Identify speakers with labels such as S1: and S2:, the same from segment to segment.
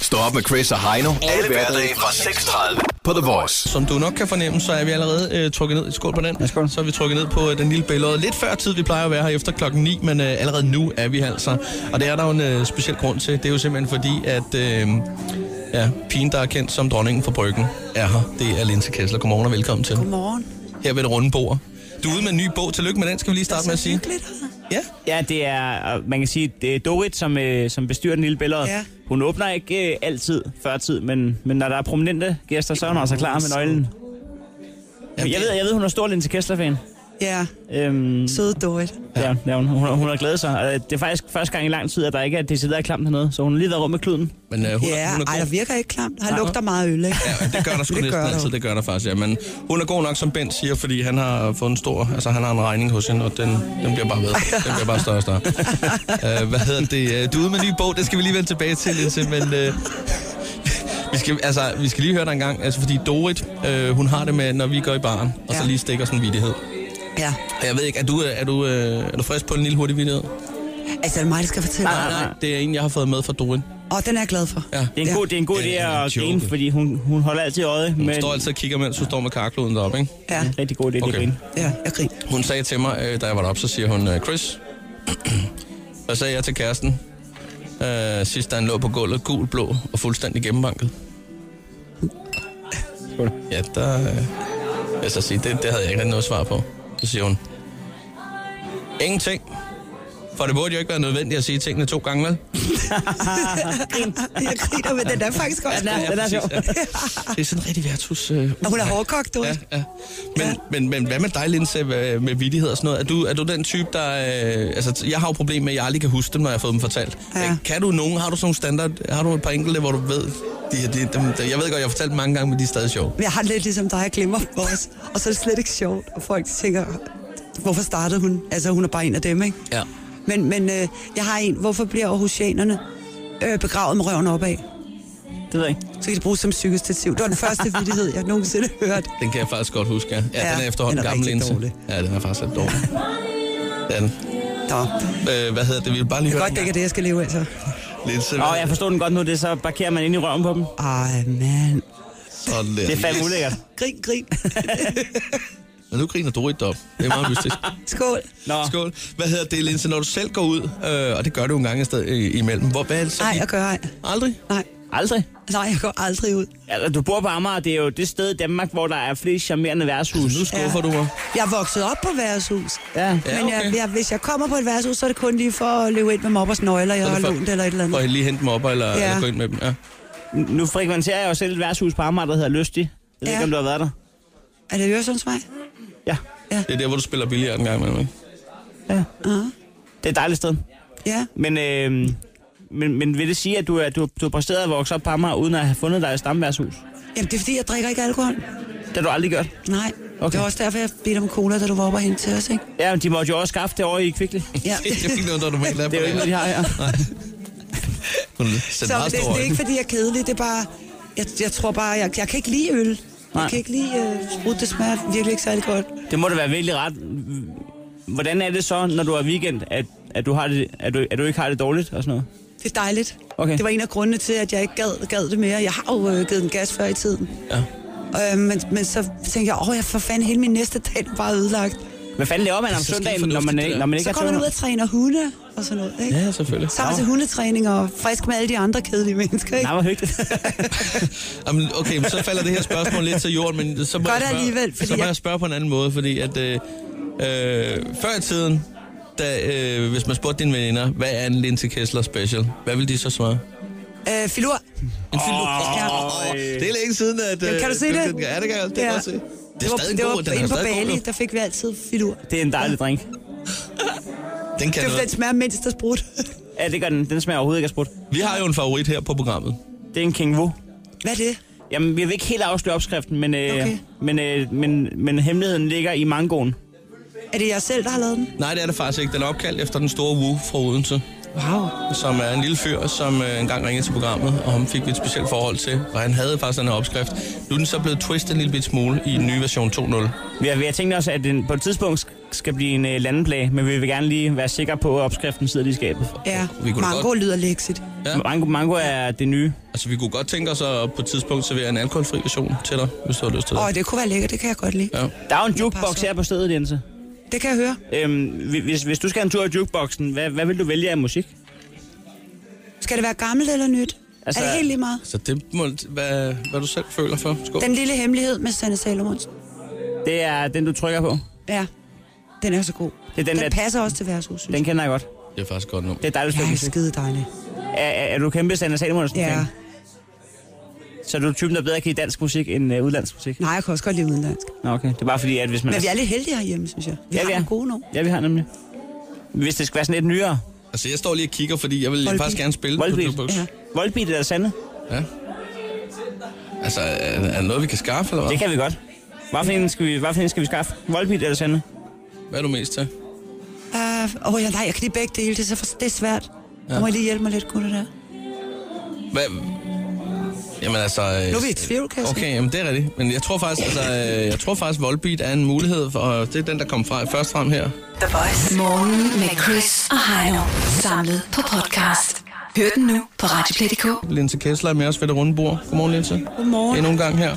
S1: Stå op med Chris og Heino. Alle hverdage fra 6.30 på The Voice.
S2: Som du nok kan fornemme, så er vi allerede øh, trukket ned. Skål på den.
S3: Ja, skål.
S2: Så er vi trukket ned på øh, den lille billede. Lidt før tid, vi plejer at være her efter klokken 9, men øh, allerede nu er vi her altså. Og det er der jo en øh, speciel grund til. Det er jo simpelthen fordi, at øh, ja, pigen, der er kendt som dronningen for bryggen, er her. Det er Linse Kessler. Godmorgen og velkommen til.
S4: Godmorgen.
S2: Her ved det runde bord. Du er ude med en ny bog. Tillykke med den, skal vi lige starte med at sige.
S4: Hyggeligt, altså.
S2: Ja,
S3: Ja, det er, og man kan sige, det er Dorit, som, øh, som bestyrer den lille billede.
S4: Ja.
S3: Ja. Hun åbner ikke øh, altid før tid, men, men når der er prominente gæster, så er hun altså klar med nøglen.
S2: Jamen,
S3: Jeg
S2: det-
S3: ved, jeg ved hun er stor Linse Kessler-fan.
S4: Ja,
S3: Øhm,
S4: søde Dorit.
S3: ja. ja hun, hun, hun har glædet sig. Og Det er faktisk første gang i lang tid, at der ikke er decideret klamt hernede, så hun har lige været rum med kluden.
S2: men øh, hun,
S4: Ja,
S2: er, hun
S4: ej,
S2: er
S4: der
S2: god.
S4: virker ikke klamt. Han lugter meget øl, ikke?
S2: Ja, det gør der sgu
S4: Det
S2: næsten
S4: gør der jo.
S2: altid, det gør der faktisk, ja. Men hun er god nok, som Bent siger, fordi han har fået en stor, altså han har en regning hos hende, og den, den bliver bare ved. Den bliver bare større og større. uh, hvad hedder det? Øh, Du er ude med en ny bog, det skal vi lige vende tilbage til, Linse, men... Uh, vi skal, altså, vi skal lige høre dig en gang, altså, fordi Dorit, øh, hun har det med, når vi går i baren, og så
S4: Ja.
S2: lige stikker sådan en vidighed.
S4: Ja.
S2: Og jeg ved ikke, er du, øh, er du, øh, er du frisk på en lille hurtig vidighed?
S4: Altså, er det mig, der skal fortælle dig?
S2: Nej, nej, det er en, jeg har fået med fra Dorit.
S4: Åh, den er jeg glad for.
S2: Ja.
S3: Det er en
S4: Ja.
S3: god, det er en god idé
S2: Ja, det er en
S3: at
S2: joke.
S3: grine, fordi hun, hun holder altid øje
S2: Hun
S3: med
S2: står altid og kigger, mens hun står med karkloden deroppe, ikke?
S4: Ja,
S3: rigtig god idé, okay.
S2: Okay.
S3: det grine.
S4: ja, jeg griner.
S2: Hun sagde til mig, øh, da jeg var deroppe, så siger hun, øh, Chris, hvad sagde jeg til kæresten, øh, sidst da han lå på gulvet, gul, blå og fuldstændig gennembanket? Ja, der... Øh, vil jeg så sige, det, det havde jeg ikke rigtig noget svar på. Så siger hun, ingenting. For det burde jo ikke være nødvendigt at sige tingene to gange, vel?
S4: Jeg griner, men den er faktisk også
S3: den er-
S4: god.
S3: den er-
S2: præcis,
S3: sjov.
S2: ja. Det er sådan rigtig værtshus... Øh,
S4: Og hun er hårdkogt, Dorit.
S2: Ja, ja. Men, men, men hvad med dig, Linse, med, med vittighed og sådan noget? Er du, er du den type, der... Øh, altså, jeg har jo problemer med, at jeg aldrig kan huske dem, når jeg har fået dem fortalt.
S4: Ja.
S2: Men Kan du nogen? Har du sådan nogle standard? Har du et par enkelte, hvor du ved... De, her, de, dem, de, jeg ved godt, jeg har fortalt dem mange gange, men de er stadig sjove.
S4: Men Jeg har det lidt ligesom dig, jeg glemmer dem også. Og så er det slet ikke sjovt, og folk tænker, hvorfor startede hun? Altså, hun er bare en af dem, ikke?
S2: Ja.
S4: Men, men øh, jeg har en, hvorfor bliver Aarhusianerne øh, begravet med røven opad?
S3: Det ved jeg ikke.
S4: Så kan det bruges som psykostativ. Det var den første vittighed, jeg nogensinde hørte.
S2: Den kan jeg faktisk godt huske, ja. Ja,
S4: Ja,
S2: den er efterhånden
S4: den er
S2: gammel,
S4: rigtig
S2: Linse.
S4: dårlig.
S2: Ja, den er faktisk lidt dårlig. Ja. Den.
S4: Nå,
S2: Øh, hvad hedder det? Vi vil bare lige høre
S4: godt det
S2: den.
S4: ikke er det, jeg skal leve af, så.
S2: Linse,
S3: Åh, jeg forstår den godt nu, det er så parkerer man ind i røven på dem.
S4: Ej, mand.
S2: sådan der.
S3: Det er fandme ulækkert.
S4: Grin, grin.
S2: Men nu griner Dorit op. Det er meget mystisk.
S4: Skål.
S3: Nå,
S2: Skål. Hvad hedder det, Linse, når du selv går ud, øh, og det gør du en gang i sted, øh, imellem, hvor, hvad er det så?
S4: Nej,
S2: dit-
S4: jeg gør ej.
S2: Aldrig?
S4: Nej.
S3: aldrig.
S4: Nej, jeg går aldrig ud.
S3: Altså, du bor på Amager, det er jo det sted i Danmark, hvor der er flest charmerende værtshus.
S2: Uh, Nu skuffer ja. du mig.
S4: Jeg er vokset op på værtshus.
S3: Ja.
S2: Ja,
S4: Men jeg,
S2: okay.
S4: jeg, hvis jeg kommer på et værtshus, så er det kun lige for at løbe ind med mobbers nøgler, jeg
S2: Så
S4: har
S2: er det for-
S4: lånt eller et eller
S2: For
S4: andet.
S2: at lige hente dem op, eller, ja.
S4: Ja.
S2: eller gå ind med dem. Ja.
S3: Nu frekventerer jeg jo selv et værtshus på Amager, der hedder Lystig. Jeg ved
S4: Ja.
S3: ikke, om du har været der.
S4: Er det Øresundsvej?
S3: Ja.
S2: Det er der, hvor du spiller billiard en gang imellem, ikke?
S3: ja.
S4: Uh-huh.
S3: Det er et dejligt sted.
S4: Ja.
S3: Men, øh, men, men vil det sige, at du, er, du, du har præsteret at vokse op på Amager, uden at have fundet dig et stamværtshus?
S4: Jamen, det er fordi, jeg drikker ikke alkohol.
S3: Det har du aldrig gjort.
S4: Nej.
S3: Okay.
S4: Det var også derfor, jeg bedte om cola, da du var oppe og hente til os, ikke?
S3: Ja, men de måtte jo også skaffe det over i Kvickly.
S4: Ja.
S2: det er jo ikke noget, der normalt er på
S3: Det er jo ikke noget, de har her.
S2: Hun sendte
S4: Så
S2: meget
S4: det,
S2: store
S4: det er ikke,
S2: øjne.
S4: fordi jeg er kedelig. Det er bare... Jeg, jeg tror bare, jeg, jeg kan ikke lide øl.
S3: Nej.
S4: Jeg kan ikke lide øh, sprut, det smager virkelig ikke særlig godt.
S3: Det må da være virkelig ret. Hvordan er det så, når du har weekend, at, at, du, har det, at, du, at du ikke har det dårligt og sådan noget?
S4: Det er dejligt.
S3: Okay.
S4: Det var en af grundene til, at jeg ikke gad, gad det mere. Jeg har jo øh, givet den gas før i tiden.
S2: Ja.
S4: Øh, men, men så tænkte jeg, åh, jeg for fanden, hele min næste dag den er bare ødelagt.
S3: Hvad fanden laver man om
S4: Altså,
S2: Det er så skide
S3: søndagen, når man,
S2: fornuftigt, det
S3: når man ikke
S4: Så
S3: er
S4: kommer man ud og træner hunde og sådan noget, ikke?
S2: Ja, selvfølgelig.
S4: Sammen til hundetræning og frisk med alle de andre kedelige mennesker, ikke?
S3: Nej, hvor hyggeligt.
S2: Jamen, okay, men så falder det her spørgsmål lidt til jorden, men så må,
S4: Gør
S2: jeg
S4: det
S2: spørge,
S4: alligevel, fordi
S2: så må
S4: jeg-
S2: jeg spørge på en anden måde, fordi at øh, øh, før i tiden, da, øh, hvis man spurgte dine veninder, hvad er en Linse Kessler special, hvad vil de så svare?
S4: Øh, filur.
S2: En oh,
S4: Ja.
S2: Det er længe siden, at...
S4: Jamen, kan du se
S2: øh,
S4: det?
S2: den- Ja, det kan jeg, det kan jeg
S4: Ja.
S2: godt se. Det
S4: Det
S2: er
S4: var,
S2: stadig
S4: det
S2: en
S4: var
S2: god, den er
S4: inde på
S2: stadig god.
S4: Bali,
S2: jo.
S4: der fik vi altid filur.
S3: Det er en dejlig drink.
S2: Den kan
S4: Det var
S2: noget.
S4: den smager mindst af sprut.
S3: Ja, det gør den. Den smager overhovedet ikke af sprut.
S2: Vi har jo en favorit her på programmet.
S3: Det er en King Wu.
S4: Hvad er det?
S3: Jamen, vi vil ikke helt afsløre opskriften, men, øh,
S4: Okay.
S3: men, øh, men, men hemmeligheden ligger i mangoen.
S4: Er det jeg selv, der har lavet den?
S2: Nej, det er det faktisk ikke. Den er opkaldt efter den store Wu fra Odense,
S4: Wow.
S2: som er en lille fyr, som øh, engang ringede til programmet, og ham fik vi et specielt forhold til, og han havde faktisk den her opskrift. Nu er den så blevet twistet en lille bit smule i den nye version 2.0.
S3: Vi har, vi har tænkt os, at den på et tidspunkt sk- skal blive en øh, landeplage, men vi vil gerne lige være sikre på, at opskriften sidder lige i skabet.
S4: Ja,
S2: Vi kunne da
S4: mango
S2: godt-
S4: lyder lækkert.
S2: Ja.
S3: Mango, mango er det nye.
S2: Altså, vi kunne godt tænke os at på et tidspunkt servere en alkoholfri version til dig, hvis du har lyst til det.
S4: Åh, oh, det kunne være lækkert, det kan jeg godt lide.
S2: Ja.
S4: Ja.
S3: Der er jo en jukebox her på stedet, Jense.
S4: Det kan jeg høre.
S3: Øhm, hvi- hvis, hvis du skal en tur i jukeboxen, hvad, hvad vil du vælge af musik?
S4: Skal det være gammelt eller nyt?
S3: Altså-
S4: Altså, er det helt lige meget?
S2: Så det må, hvad, hvad du selv føler for. Skål.
S4: Den lille hemmelighed med Sanne Salomonsen.
S3: Det er den, du trykker på.
S4: Ja, den er så god.
S3: Det er den
S4: den,
S3: der-
S4: den passer også til værtshus, synes
S3: Den
S4: den...
S3: kender jeg godt.
S2: Det er faktisk godt nu.
S3: Det er dejligt
S4: jeg.
S3: stykke
S4: Ja,
S3: musik.
S4: skide dejlig.
S3: Er, er, er du kæmpe Sander Salomonsen
S4: Ja.
S3: fan? Så er du typen, der bedre kan lide dansk musik end uh, udlandsk musik?
S4: Nej, jeg kan også godt lide udenlandsk.
S3: Nå, okay. Det er bare fordi, at hvis man...
S4: Men vi er lidt heldige herhjemme, synes jeg. Vi
S3: altså- Ja,
S4: ja,
S3: vi
S4: har
S3: er.
S4: nogle gode nogen.
S3: Ja, vi har nemlig. Hvis det skal være sådan lidt nyere.
S2: Altså, jeg står lige og kigger, fordi jeg vil
S4: Volbeat.
S2: faktisk gerne spille på
S3: Volbeat.
S2: Jukebox.
S4: Ja.
S3: Volbeat eller Sande?
S2: Ja. Altså, er, er det noget, vi kan skaffe, eller hvad?
S3: Det kan vi godt. Hvad for en skal vi, hvad for en skal vi skaffe? Volbeat eller Sande?
S2: Hvad er du mest til?
S4: Åh, uh, oh, ja, nej, jeg kan lide begge dele. Det er, så for, det er svært. Ja. Du må I lige hjælpe mig lidt, gutter der.
S2: Hvad? Jamen altså... øh,
S4: Nu er vi i tvivl, kan jeg se.
S2: Okay, jamen det er rigtigt. Men jeg tror faktisk, altså, øh, jeg tror faktisk, Volbeat er en mulighed, for, og det er den, der kom fra, først frem her.
S5: The Voice.
S6: Morgen med Chris og Heino. Samlet på podcast. Hør den nu på Radioplay.dk.
S2: Linse Kessler er med os ved det runde bord. Godmorgen, Linse.
S4: Godmorgen.
S2: Endnu en gang her.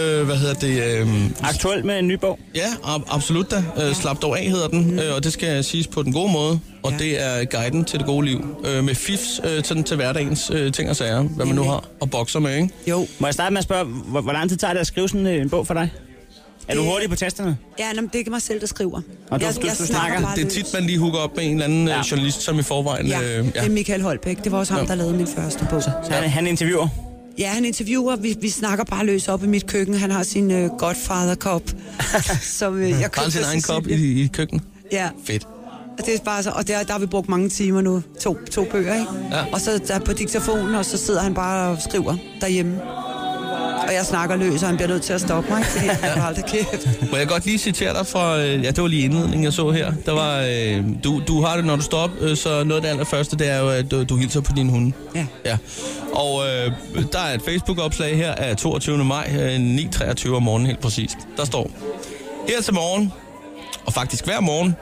S2: Øh, hvad hedder det? Øh,
S3: Aktuelt med en ny bog.
S2: Ja, ab- absolut da. Øh, slap dog af hedder den, øh, og det skal siges på den gode måde. Og
S4: Ja.
S2: det er guiden til det gode liv. Øh, med fifs øh, sådan til hverdagens øh, ting og sager, hvad man nu har og bokser med, ikke?
S4: Jo.
S3: Må jeg starte med at spørge, hvor, hvor lang tid tager det at skrive sådan øh, en bog for dig? Er du
S4: Det-
S3: hurtig på tasterne?
S4: Ja, nå, men det er mig selv, der skriver.
S3: Og du- du- du snakker.
S4: bare
S2: Det er
S4: løs.
S2: tit, man lige hooker op med en eller anden
S3: Ja.
S2: øh, journalist, som i forvejen...
S4: Ja,
S2: Øh,
S4: det er Michael Holbæk. Det var også ham,
S2: Ja.
S4: der lavede min første bog.
S3: Så han, han interviewer.
S4: Ja, han interviewer. Vi, vi snakker bare løs op i mit køkken. Han har sin øh, Godfather-kop, som øh, jeg købte
S2: Har han sin
S4: fra
S2: egen kop
S4: Sicilien.
S2: i, i køkkenet?
S4: Ja,
S2: Fedt.
S4: og det er bare så, og der, der har vi brugt mange timer nu. To, to bøger, ikke?
S2: Ja.
S4: Og så der på diktafonen, og så sidder han bare og skriver derhjemme. Og jeg snakker løs, og han bliver nødt til at stoppe mig, fordi jeg holder aldrig kæft.
S2: Må jeg godt lige citere dig fra... Øh, ja, det var lige indledningen, jeg så her. Der var... Øh, du, du har det, når du står op, øh, så noget af det allerførste, det er jo, at du, du hilser på din hunde.
S4: Ja.
S2: Ja, og øh, der er et Facebook-opslag her af 22. maj, øh, 9.23 om morgenen helt præcist. Der står, her til morgen, og faktisk hver morgen,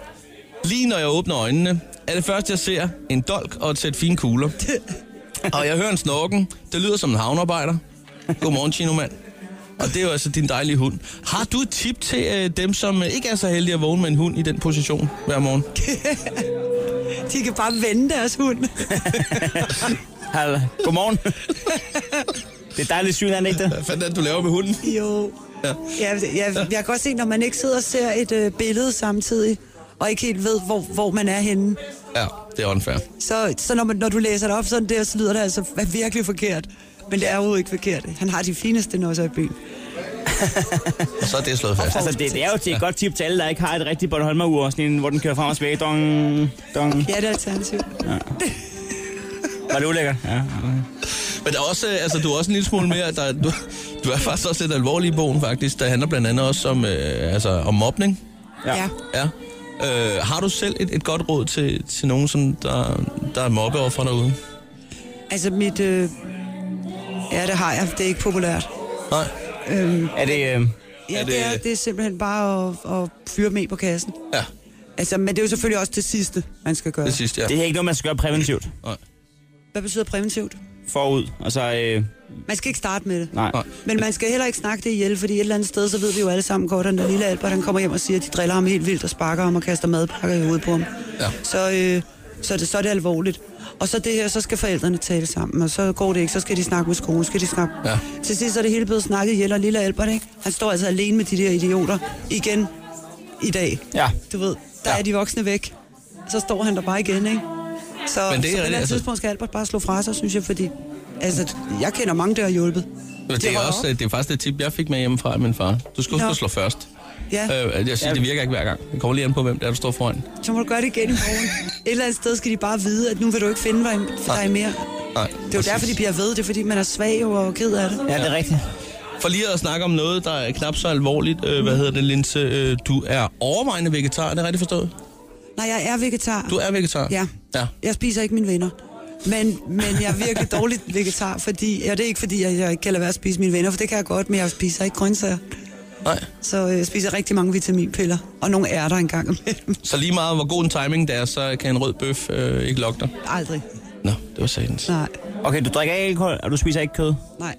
S2: lige når jeg åbner øjnene, er det første, jeg ser en dolk og et sæt fine kugler. og jeg hører en snorken, det lyder som en havnearbejder. Godmorgen, Chino-mand. Og det er jo altså din dejlige hund. Har du et tip til øh, dem, som øh, ikke er så heldige at vågne med en hund i den position hver morgen?
S4: De kan bare vende deres hund.
S3: Hej, Godmorgen. det er dejligt syn, er det ikke det?
S2: Hvad fanden er det, du laver med hunden?
S4: Jo.
S2: Ja.
S4: Ja. Jeg, jeg, jeg kan godt se, når man ikke sidder og ser et øh, billede samtidig, og ikke helt ved, hvor, hvor man er henne,
S2: Ja, det er unfair.
S4: så, så når, man, når du læser det op sådan der, så lyder det altså f- virkelig forkert. Men det er jo ikke forkert. Han har de fineste nosser i byen.
S2: Og så er det slået fast.
S3: Altså, det, det er jo til et godt tip til alle, der ikke har et rigtigt Bornholmer-ur, sådan en, hvor den kører frem og tilbage. Dong, dong.
S4: Ja, det er alternativ.
S3: Var det ulækkert? Ja.
S2: Men der er også, øh, altså, du er også en lille smule mere, der, du, du er faktisk også lidt alvorlig i bogen, faktisk. Der handler blandt andet også om, øh, altså, om mobning.
S3: Ja.
S4: Ja. ja.
S2: Ja. Øh, har du selv et, et godt råd til, til nogen, som der, der er mobbeoffre derude?
S4: Altså mit... Øh, ja, det har jeg. Det er ikke populært.
S2: Nej.
S4: Øhm,
S3: Er det... Øh,
S2: Er
S4: ja, er
S2: det-
S4: det... Det, er, det er simpelthen bare at, at fyre med på kassen.
S2: Ja,
S4: Altså, men det er jo selvfølgelig også det sidste, man skal gøre.
S2: det sidste, ja.
S3: det er ikke noget, man skal gøre præventivt
S4: Hvad betyder præventivt?
S3: forud. Og så... Øh,
S4: Man skal ikke starte med det.
S3: nej.
S2: Nej.
S4: Men man skal heller ikke snakke det ihjel, fordi et eller andet sted, så ved vi jo alle sammen godt, at når lille Albert han kommer hjem og siger, at de driller ham helt vildt og sparker ham og kaster madpakker i hovedet på ham,
S2: Ja.
S4: så, øh, så, er det, så er det alvorligt. Og så det her, så skal forældrene tale sammen, og så går det ikke, så skal de snakke med skolen, skal de snakke...
S2: Ja.
S4: Til sidst er det hele blevet snakket ihjel, og lille Albert, ikke? han står altså alene med de der idioter igen i dag.
S3: Ja.
S4: Du ved, der
S2: Ja.
S4: ja. er de voksne væk, så står han der bare igen, ikke? Så,
S2: Men det er
S4: så på
S2: rigtigt,
S4: et eller andet
S2: altså-
S4: tidspunkt skal Albert bare slå fra sig, synes jeg, fordi altså, jeg kender mange, der har hjulpet.
S2: Men
S4: De
S2: det er,
S4: holder
S2: også,
S4: op.
S2: øh, det er faktisk et tip, jeg fik med hjemmefra af min far. Du skal huske
S4: Nå.
S2: at slå først.
S4: Ja.
S2: Øh, jeg siger, det virker ikke hver gang. Det kommer lige an på, hvem det er, du står foran.
S4: så må du gøre det igen i morgen. Et eller andet sted skal de bare vide, at nu vil du ikke finde dig, for
S2: Nej.
S4: dig mere.
S2: Nej,
S4: Det er jo derfor, de bliver ved. Det er fordi, man er svag og ked af det.
S3: Ja, det er rigtigt.
S2: For lige at snakke om noget, der er knap så alvorligt. Øh, hvad hedder det, Linse? Øh, du er overvejende vegetar, er det rigtigt forstået?
S4: Nej, jeg er vegetar.
S2: Du er vegetar?
S4: Ja.
S2: Ja.
S4: Jeg spiser ikke mine venner. Men, men jeg er virkelig dårlig vegetar, fordi, ja, det er ikke fordi, jeg, jeg ikke kan lade være at spise mine venner, for det kan jeg godt, men jeg spiser ikke grøntsager.
S2: Nej.
S4: Så øh, jeg spiser rigtig mange vitaminpiller, og nogle ærter engang imellem.
S2: Så lige meget hvor god en timing det er, så kan en rød bøf øh, ikke lokke dig.
S4: Aldrig.
S2: Nå, det var satans.
S4: Nej,
S3: Okay, du drikker ikke alkohol, og du spiser ikke kød.
S4: nej.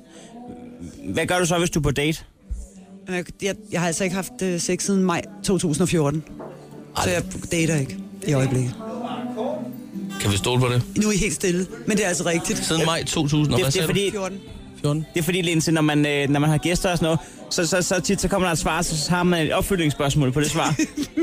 S3: Hvad gør du så, hvis du er på date?
S4: Men Jeg, jeg, jeg har altså ikke haft øh, sex siden maj 2014. Så jeg dater ikke i øjeblikket.
S2: Kan vi stole på det?
S4: Nu er I helt stille, men det er altså rigtigt.
S2: Siden maj 2000, og
S3: Det,
S2: hvad
S3: det,
S2: sagde
S3: er fordi,
S4: 14.
S2: 14?
S3: det er fordi, Linse, når man, øh, når man har gæster og sådan noget, så, så, så tit så kommer der et svar, så, så har man et opfølgningsspørgsmål på det svar.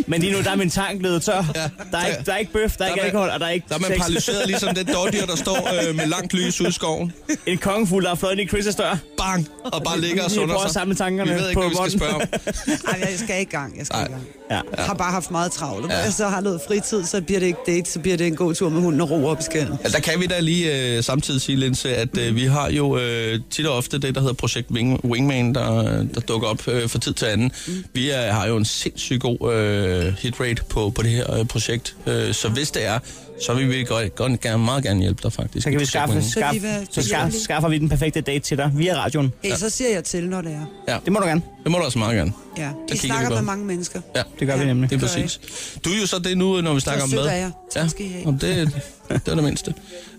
S3: Men lige nu, der er min tank blevet tør. Der er ikke, der er ikke bøf, der er ikke
S2: man-
S3: alkohol, og der er ikke
S2: Der er man
S3: sex.
S2: paralyseret ligesom det dårdyr, der står øh, med langt lys ud i skoven.
S3: En kongefugl, der har fløjet ind i Chris' dør.
S2: Bang! Og bare ligger og
S3: Vi
S2: sunder
S3: prøver at
S2: sig.
S3: samle tankerne
S2: Vi ved ikke,
S3: på
S2: hvad vi skal
S3: morgenen.
S2: spørge om.
S4: Ej, jeg skal ikke i gang. Jeg skal
S2: Nej.
S4: i gang.
S3: Ja.
S4: Jeg har bare haft meget travlt. Og når
S2: Ja.
S4: jeg så har noget fritid, så bliver det ikke date, så bliver det en god tur med hunden og ro op i skælden.
S2: Ja, der kan vi da lige øh, samtidig sige, Linse, at øh, vi har jo øh, tit og ofte det, der hedder Projekt Wing, Wingman, der, der dukker op øh, fra tid til anden.
S3: Mm.
S2: Vi øh, har jo en sindssygt god øh, hitrate på, på det her øh, projekt, øh, så hvis det er, så vil vi godt, godt gerne, meget gerne hjælpe dig faktisk.
S3: Så kan vi
S2: Projekt
S3: skaffe,
S2: Wingman.
S4: Så vi
S3: skaffe,
S4: vil-
S3: så skaffe, skaffer vi den perfekte date til dig via radioen.
S4: Hey, så siger jeg til, når det er.
S2: Ja,
S3: Det må du gerne.
S2: det må du også meget gerne.
S4: Ja.
S2: kigger
S4: I
S2: vi
S4: snakker
S2: godt.
S4: med mange mennesker.
S2: Ja,
S3: Det gør vi nemlig.
S2: det er
S4: gør jeg
S2: præcis. Du er jo så det nu, øh, når vi snakker om
S4: sød
S2: mad.
S4: er jeg.
S2: Ja,
S4: Tak skal I have.
S2: om det, det er det mindste.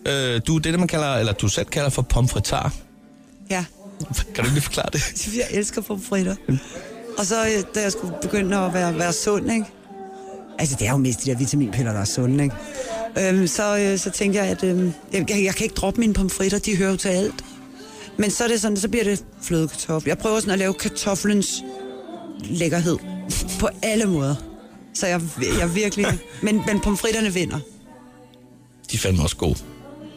S2: Øh, du er det, man kalder, eller du selv kalder for pomfritar.
S4: Ja.
S2: Kan du ikke lige forklare det?
S4: Jeg elsker pomfritter. Og så, øh, da jeg skulle begynde at være, være sund, ikke? Altså, det er jo mest de der vitaminpiller, der er sunde, ikke? Øhm, så, øh, så tænkte jeg, at øhm, jeg, jeg, jeg kan ikke droppe mine pomfritter, de hører jo til alt. Men så er det sådan, så bliver det flødekartoffel. Jeg prøver sådan at lave kartoflens lækkerhed på alle måder. Så jeg, jeg virkelig... Men, men pomfritterne vinder.
S2: De er fandme også gode.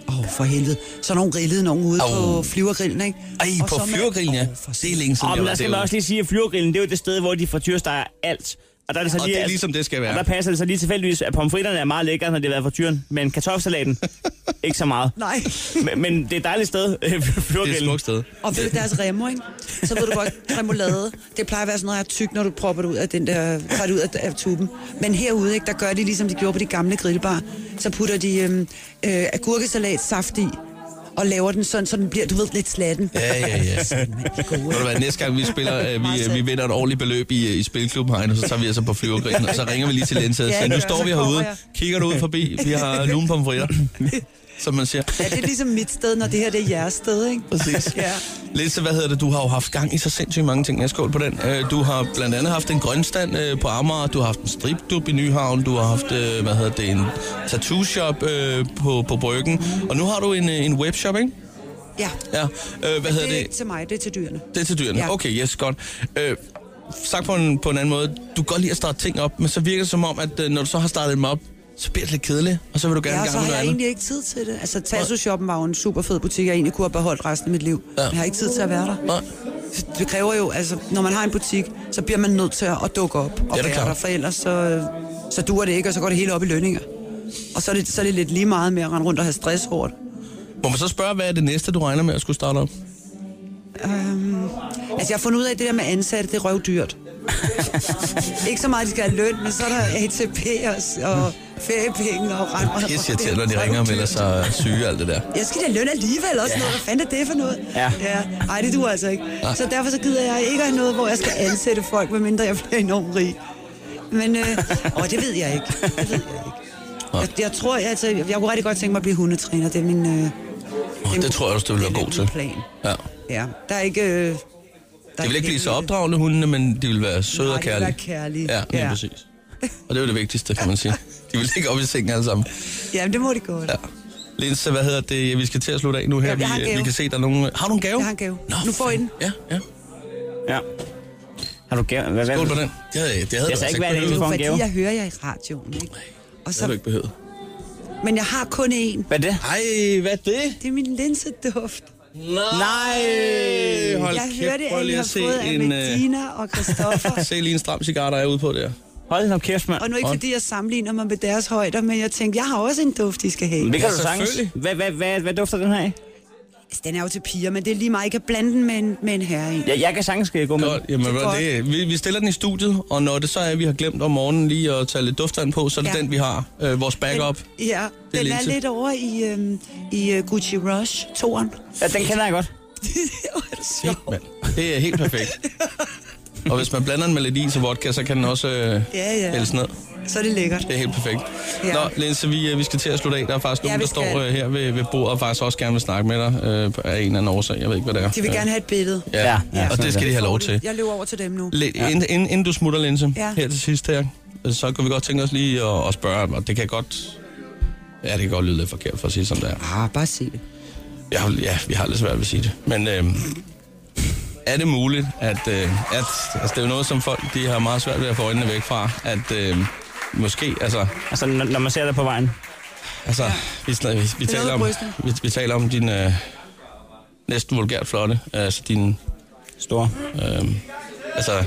S4: Åh, oh, for helvede. Så er nogle grillede nogen ude
S2: Au.
S4: oh. på flyvergrillen, ikke?
S2: Ej,
S4: Og
S2: på
S4: så med-
S2: fyrgrillen, ja.
S4: Åh, for
S2: Det er længe siden, jeg
S3: Og men
S2: var
S3: der skal man
S2: derude.
S3: også lige sige, at flyvergrillen, det er jo det sted, hvor de fortyrster alt. Og der er det så
S2: Og
S3: lige,
S2: det er
S3: at-
S2: ligesom det skal være.
S3: Og der passer det så lige tilfældigvis, at pomfritterne er meget lækre, når det har været fortyren. Men kartoffelsalaten, ikke så meget.
S4: Nej.
S3: Men, men det er et dejligt sted, øh,
S2: Det er et
S3: flyvergrillen.
S2: smukt sted.
S4: Og ved deres remmer, ikke? Så ved du godt, remoulade, det plejer at være sådan noget, jeg er tyk, når du propper det ud af den der, tager det ud af, af tuben. Men herude, ikke, der gør de ligesom de gjorde på de gamle grillbar. Så putter de øhm, øh, agurkesalat saft i, og laver den sådan, så den bliver, du ved, lidt slatten.
S2: Ja, ja, ja.
S4: Gode.
S2: Ved du hvad, næste gang vi spiller, øh,
S4: Meget
S2: vi,
S4: sandt.
S2: vi vinder et årligt beløb i, øh, i Spilklubben herinde, og så tager vi altså på flyvergrillen, og så ringer vi lige til Lense og
S4: Ja,
S2: siger, nu
S4: det
S2: står
S4: gør
S2: vi
S4: jeg. Så kommer
S2: herude, kigger du ud forbi, vi har lunepomfritter, som man siger.
S4: Ja, det er ligesom mit sted, når det her det er jeres sted, ikke?
S2: Præcis.
S4: Ja.
S2: Lense, hvad hedder det, du har jo haft gang i så sindssygt mange ting, jeg skål på den. Øh, Du har blandt andet haft en grønstand øh, på Amager, du har haft en stripdub i Nyhavn, du har haft, øh, hvad hedder det, en tattoo shop øh, på, på Bryggen, og nu har du en, øh, en webshop, ikke?
S4: Ja,
S2: Ja, øh, hvad hedder
S4: det er
S2: det?
S4: ikke til mig, det er til dyrene.
S2: Det er til dyrene. Ja.
S4: Ja.
S2: Okay, yes, godt. Øh, sagt på en, på en anden måde, du kan godt lide at starte ting op, men så virker det som om, at øh, når du så har startet dem op, så bliver det lidt kedeligt, og så vil du gerne
S4: Ja, og
S2: i
S4: så
S2: gang med
S4: har
S2: noget
S4: jeg
S2: andet.
S4: egentlig ikke tid til det. Altså, Tasso Shoppen var jo en super fed butik, jeg egentlig kunne have beholdt resten af mit liv.
S2: Ja.
S4: Ja. Jeg har ikke tid til at være der.
S2: Nej.
S4: Det kræver jo, altså, når man har en butik, så bliver man nødt til at at dukke op og
S2: det er
S4: være
S2: klart.
S4: der, for ellers så, så duer det ikke, og så går det hele op i lønninger. Og så er, det, så er det lidt lige meget med at rende rundt og have stress over det.
S2: Må man så spørge, hvad er det næste, du regner med at skulle starte op?
S4: Altså, jeg har fundet ud af, at det der med ansatte, det er røvdyrt. ikke så meget, de skal have løn, men så er der ATP og, og feriepenge og rent rundt.
S2: Pisse irriterende, når de ringer og melder sig syge og alt det der.
S4: jeg skal da løn alligevel også ja. noget. Hvad fanden er det for noget?
S3: Ja.
S4: ja. Ej, det du altså ikke. Ja.
S2: Ah.
S4: Så derfor så gider jeg ikke have noget, hvor jeg skal ansætte folk, medmindre jeg bliver enormt rig. Men øh, åh, det ved jeg ikke. Det ved jeg ikke. Jeg, jeg tror, jeg, altså, jeg kunne rigtig godt tænke mig at blive hundetræner. Det er min, øh, det,
S2: Oh, det tror jeg også, du vil
S4: er
S2: være god
S4: min
S2: til.
S4: plan.
S2: Ja.
S4: Ja, der er ikke... Øh, der
S2: Det vil ikke blive så opdragende, hundene, men de vil være søde
S4: Nej,
S2: og
S4: de vil være
S2: kærlige.
S4: kærlige.
S2: Ja, lige
S4: Ja.
S2: præcis. Og det er jo det vigtigste, kan man sige. De vil ligge op i sengen alle sammen.
S4: Jamen, det må det godt.
S2: Ja.
S4: Ja.
S2: Linse, hvad hedder det? Vi skal til at slutte af nu her.
S4: Ja, jeg har en
S2: vi,
S4: gave.
S2: vi kan se, der er nogen... Har du en gave?
S4: Jeg har en gave. Nu får I
S2: fanden. Ja, ja.
S3: Ja. Har du gæ- hvad, hvad?
S2: Skål på den. Det havde, det havde
S3: Jeg
S2: du
S3: sagde
S2: altså
S3: ikke, hvad det
S2: behøvet.
S3: er. får en
S4: Fordi
S3: gave.
S4: jeg hører jer i radioen, ikke? Og
S2: Det havde du
S4: så,
S2: ikke behøvet.
S4: men jeg har kun én.
S3: Hvad er det?
S2: Ej, hvad er det?
S4: Det er min linseduft.
S2: Nej! Hold
S4: jeg
S2: kæft,
S4: hørte,
S2: prøv
S4: at I
S2: lige
S4: har
S2: at se
S4: fået af
S2: en... Øh,
S4: Medina og Christoffer.
S2: se lige en stram cigar, der er ude på der.
S3: Hold nu kæft, mand.
S4: Og nu ikke
S2: Ånd.
S4: fordi jeg sammenligner mig med deres højder, men jeg tænkte, jeg har også en duft, I skal have.
S3: Det kan
S2: Ja,
S3: du sagtens.
S2: selvfølgelig.
S3: Hvad, hvad, hvad, hvad dufter den her af?
S4: Altså, den er jo til piger, men det er lige meget, I kan blande den med en, med en herre i.
S3: Jeg, jeg kan sagtens øh, gå med.
S2: Godt, jamen,
S4: Det er
S2: det det, vi, vi stiller den i studiet, og når det så er, at vi har glemt om morgenen lige at tage lidt duftand på, så er det ja.
S4: Ja.
S2: den, vi har. Øh, vores backup.
S4: Den, ja,
S2: Det er
S4: den er
S2: linse.
S4: lidt over i, øhm, i øh, Gucci Rush 2'eren.
S3: Ja, den kender jeg godt.
S4: det er jo altså
S2: Fedt, mand. Det er helt perfekt. Og hvis man blander en melodi til vodka, så kan den også øh,
S4: Ja, ja.
S2: hældes ned.
S4: Så er det lækkert.
S2: Det er helt perfekt.
S4: Ja.
S2: Nå, Linse, vi, øh, vi skal til at slutte af. Der er faktisk
S4: Ja,
S2: nogen,
S4: vi
S2: der står
S4: skal.
S2: øh, her ved, ved bordet og faktisk også gerne vil snakke med dig øh, af en eller anden årsag. Jeg ved ikke, hvad det er.
S4: De vil gerne have et billede.
S2: Ja, ja,
S3: Ja,
S2: ja og
S3: sådan
S2: det skal
S3: der.
S2: de have lov til.
S4: Jeg løber over til dem nu.
S2: Lidt, ja. inden, inden, inden du smutter, Linse, ja.
S4: Ja.
S2: her til sidst her, så kan vi godt tænke os lige at, at spørge, og det kan godt... Ja, det kan godt lyde lidt forkert for at sige, som det er.
S4: Ah, bare se det.
S2: Jeg, har- ja, vi har lidt svært ved at sige det. Men øh, er det muligt, at, øh, at... Altså, det er jo noget, som folk de har meget svært ved at få øjnene væk fra, at øh, måske, altså...
S3: Altså, når, når man ser dig på vejen.
S2: Altså, vi, snak- vi, vi,
S4: Det er
S2: taler
S4: noget
S2: om,
S4: bryster.
S2: vi, vi taler om din øh, næsten vulgært flotte, altså din...
S3: Stor.
S2: Øh, altså,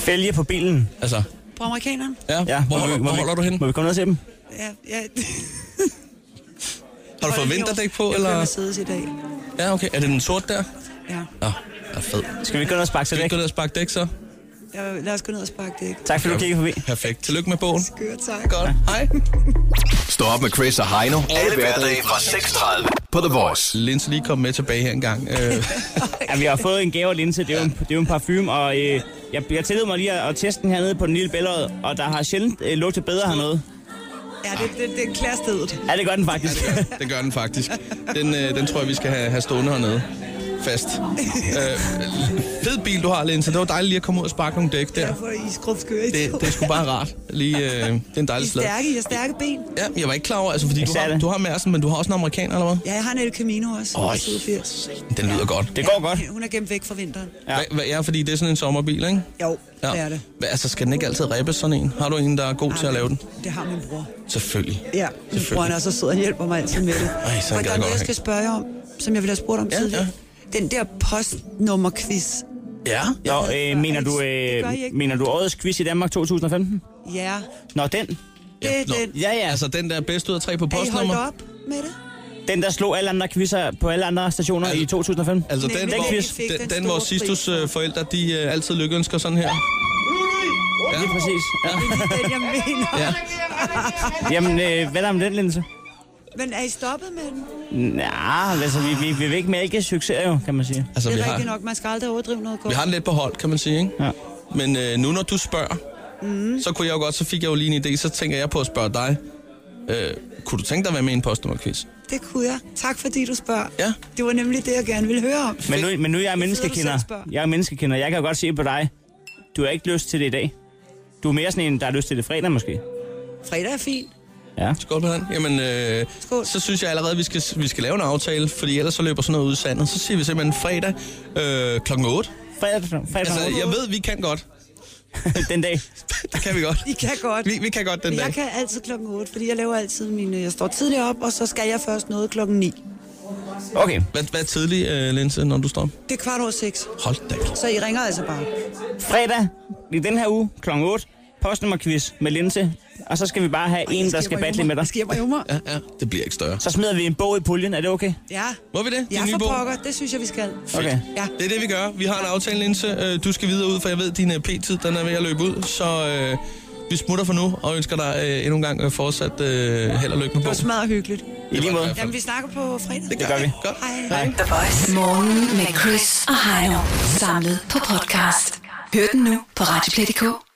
S3: Fælge på bilen.
S2: altså,
S4: På amerikaneren?
S2: ja, ja hvor, hvor, hvor holder du hen?
S3: Må vi komme ned til dem?
S4: Ja, ja.
S2: Har du fået vinterdæk på,
S4: jeg Jeg
S2: eller?
S4: siddes i dag.
S2: Ja, okay. Er det den sorte der?
S4: Ja.
S2: Nå, er fed.
S3: Skal vi ikke gå ned og sparke til
S2: Skal vi
S3: det?
S2: ikke gå ned og sparke dæk, så?
S4: Jeg, lad os gå ned og sparke det.
S3: Tak fordi du kiggede forbi.
S2: Perfekt. Tillykke med bogen.
S4: Skør, tak.
S2: Godt. Hej.
S1: Stå op med Chris og Heino. Alle hverdage fra 6.30 på The Voice.
S2: Linse lige kom med tilbage her engang. Øh,
S3: Ja, vi har fået en gave af Linse. Det er jo en, det er jo en parfume, og øh, jeg, jeg tillod mig lige at, at teste den hernede på den lille bællerød, og der har sjældent øh, lugtet bedre hernede.
S4: Ja, det, det, det er klærstedet.
S3: Ja, det gør den faktisk.
S2: det gør den faktisk. Den, øh, den tror jeg, vi skal have, have stående hernede. Fast. Øh, fed bil, du har, Linse. Det var dejligt lige at komme ud og sparke nogle dæk der.
S4: Jeg får I skrub skør i
S2: Det,
S4: to.
S2: det er sgu bare rart. Lige, øh, det er en
S4: I er
S2: dejlig slag.
S4: stærke, I er stærke ben.
S2: Ja, jeg var ikke klar over, altså, fordi du
S3: Især
S2: har,
S3: det.
S2: du har Mærsen, men du har også en amerikaner, eller hvad?
S4: Ja, jeg har en El Camino også.
S2: Øj.
S4: Øj. 87.
S2: Den lyder godt.
S3: Det går godt.
S4: Hun er gemt væk fra vinteren.
S2: Ja. Hvad, hvad, ja, fordi det er sådan en sommerbil, ikke?
S4: Jo, ja. det er det.
S2: Hvad, altså, skal den ikke altid rippe sådan en? Har du en, der er god til at lave den?
S4: Det har min bror.
S2: Selvfølgelig.
S4: Ja, min bror han er så sød, han hjælper mig altid med det.
S2: Ej, så
S4: Og
S2: gad
S4: der
S2: jeg godt
S4: er noget, jeg
S2: have.
S4: skal spørge jer om, som jeg ville have spurgt om
S2: Ja,
S4: tidligere. Den der postnummer-quiz.
S2: Ja.
S3: Nå, øh, mener, du,
S4: Det gør I
S3: øh,
S4: ikke.
S3: mener du årets quiz i Danmark 2015?
S4: Ja,
S3: Nå, den.
S4: det er
S2: nå.
S4: den.
S3: Ja, ja.
S2: Altså, den der bedst ud af tre på
S4: Er I holdt
S2: postnummer.
S4: op med det?
S3: Den, der slog alle andre quizzer på alle andre stationer i 2015.
S2: Altså, den,
S4: Nemlig,
S2: hvor,
S3: den quiz
S4: fik
S2: den, den,
S4: den store
S2: hvor
S4: pris
S2: Sistus
S4: for.
S2: øh, forældre, de øh, altid lykkeønsker sådan her.
S3: Ja. Lige præcis. Ja.
S4: Den, jeg mener.
S2: Ja.
S3: Jamen, øh, hvad er der med den, Linse?
S4: Men er I stoppet med den?
S3: Nej, altså, vi, vi, vi vil ikke mælke succes, jo, kan man sige.
S2: Altså, vi
S4: det er rigtigt
S2: har,
S4: nok. Man skal aldrig overdrive noget godt.
S2: vi har den lidt på hold, kan man sige, ikke?
S3: Ja.
S2: Men øh, nu, når du spørger, mm. så kunne jeg jo godt, så fik jeg jo lige en idé, så tænker jeg på at spørge dig. Øh, kunne du tænke dig at være med i en postnummerquiz?
S4: Det kunne jeg. Tak fordi du spørger.
S2: Ja.
S4: Det var nemlig det, jeg gerne ville høre om.
S3: Men nu, men nu er jeg
S4: selv
S3: menneskekender.
S4: spørger.
S3: Jeg er menneskekender. Jeg kan jo godt se på dig. Du har ikke lyst til det i dag. Du er mere sådan en, der har lyst til det fredag måske.
S4: Fredag er fint.
S3: Ja.
S2: Skål på den. Jamen, øh,
S4: Skål.
S2: så synes jeg allerede, vi skal, vi skal lave en aftale, fordi ellers så løber sådan noget ud i sandet. Så siger vi simpelthen fredag øh, klokken 8.
S3: Fredag, fredag
S2: Altså,
S3: altså,
S2: jeg ved, vi kan godt.
S3: den dag.
S2: Det kan vi godt.
S4: I kan godt.
S2: Vi, vi kan godt den
S4: Men
S2: dag.
S4: jeg kan altid klokken 8, fordi jeg laver altid mine... Jeg står tidligt op, og så skal jeg først noget klokken 9.
S3: Okay.
S2: Hvad, hvad er tidlig, øh, Linse, når du står op?
S4: Det er kvart over 6,
S2: Hold da kæft.
S4: så I ringer altså bare.
S3: Fredag i den her uge kl. 8. Postnummerquiz med Linse. Og så skal vi bare have en, der skal battle med dig.
S4: Jeg skal hjem og øve mig.
S2: Ja, ja, det bliver ikke større.
S3: Så smider vi en bog i puljen. Er det okay?
S4: Ja.
S2: Må vi det?
S4: Ja,
S2: Din nye
S4: for
S2: bog?
S4: pokker. Det synes jeg, vi skal.
S3: Okay.
S4: Ja.
S2: Det er det, vi gør. Vi har en aftale, Linse. Øh, Du skal videre ud, for jeg ved, at din øh, p-tid den er ved at løbe ud. Så øh, vi smutter for nu, og ønsker dig øh, endnu en gang øh, fortsat øh, held og lykke med
S4: Det var
S2: bogen.
S4: smadret hyggeligt.
S3: I lige måde.
S4: Jamen, vi snakker på fredag.
S2: Det gør vi. Godt.
S4: Hej.
S3: Hej.
S6: The Voice. Morgen med Chris og Heino. Samlet på podcast. Hør den nu på RadioPlay.dk.